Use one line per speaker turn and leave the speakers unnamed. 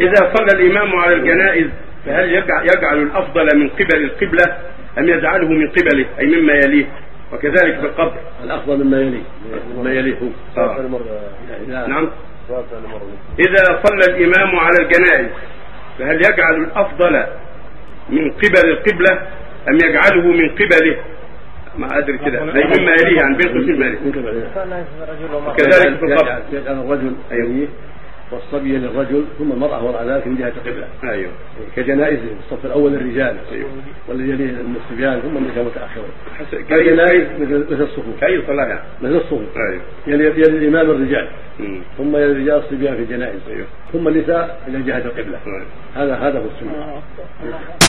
إذا صلى الإمام على الجنائز فهل يجعل, يجعل الأفضل من قبل القبلة أم يجعله من قبله أي مما يليه وكذلك في القبر
الافضل مما يليه مما يليه هو
آه.
آه.
نعم
سؤال ثاني مرة
إذا صلى الإمام على الجنائز فهل يجعل الأفضل من قبل القبلة أم يجعله من قبله ما أدري كده زي مما يليه عن بين قوسين ما يليه.
من قبل
كان رجل ومرأة
كذلك في القبر
يجعل يجعل الرجل
أيوه.
يليه والصبي للرجل ثم المرأة وراء ذلك من جهة القبلة
أيوه
كجنائزهم الصف الأول الرجال
أيوه
والذي يليه الصبيان ثم النساء متأخرا
حس- كأي
كالجنائز
كأي-
مثل مثل الصفوف
كأي صلاة يعني
مثل الصفوف
أيوه
يلي يلي الإمام الرجال
مم.
ثم يلي الرجال الصبيان في الجنائز
أيوه آه.
ثم النساء إلى جهة القبلة
أيوه.
هذا هذا هو السنة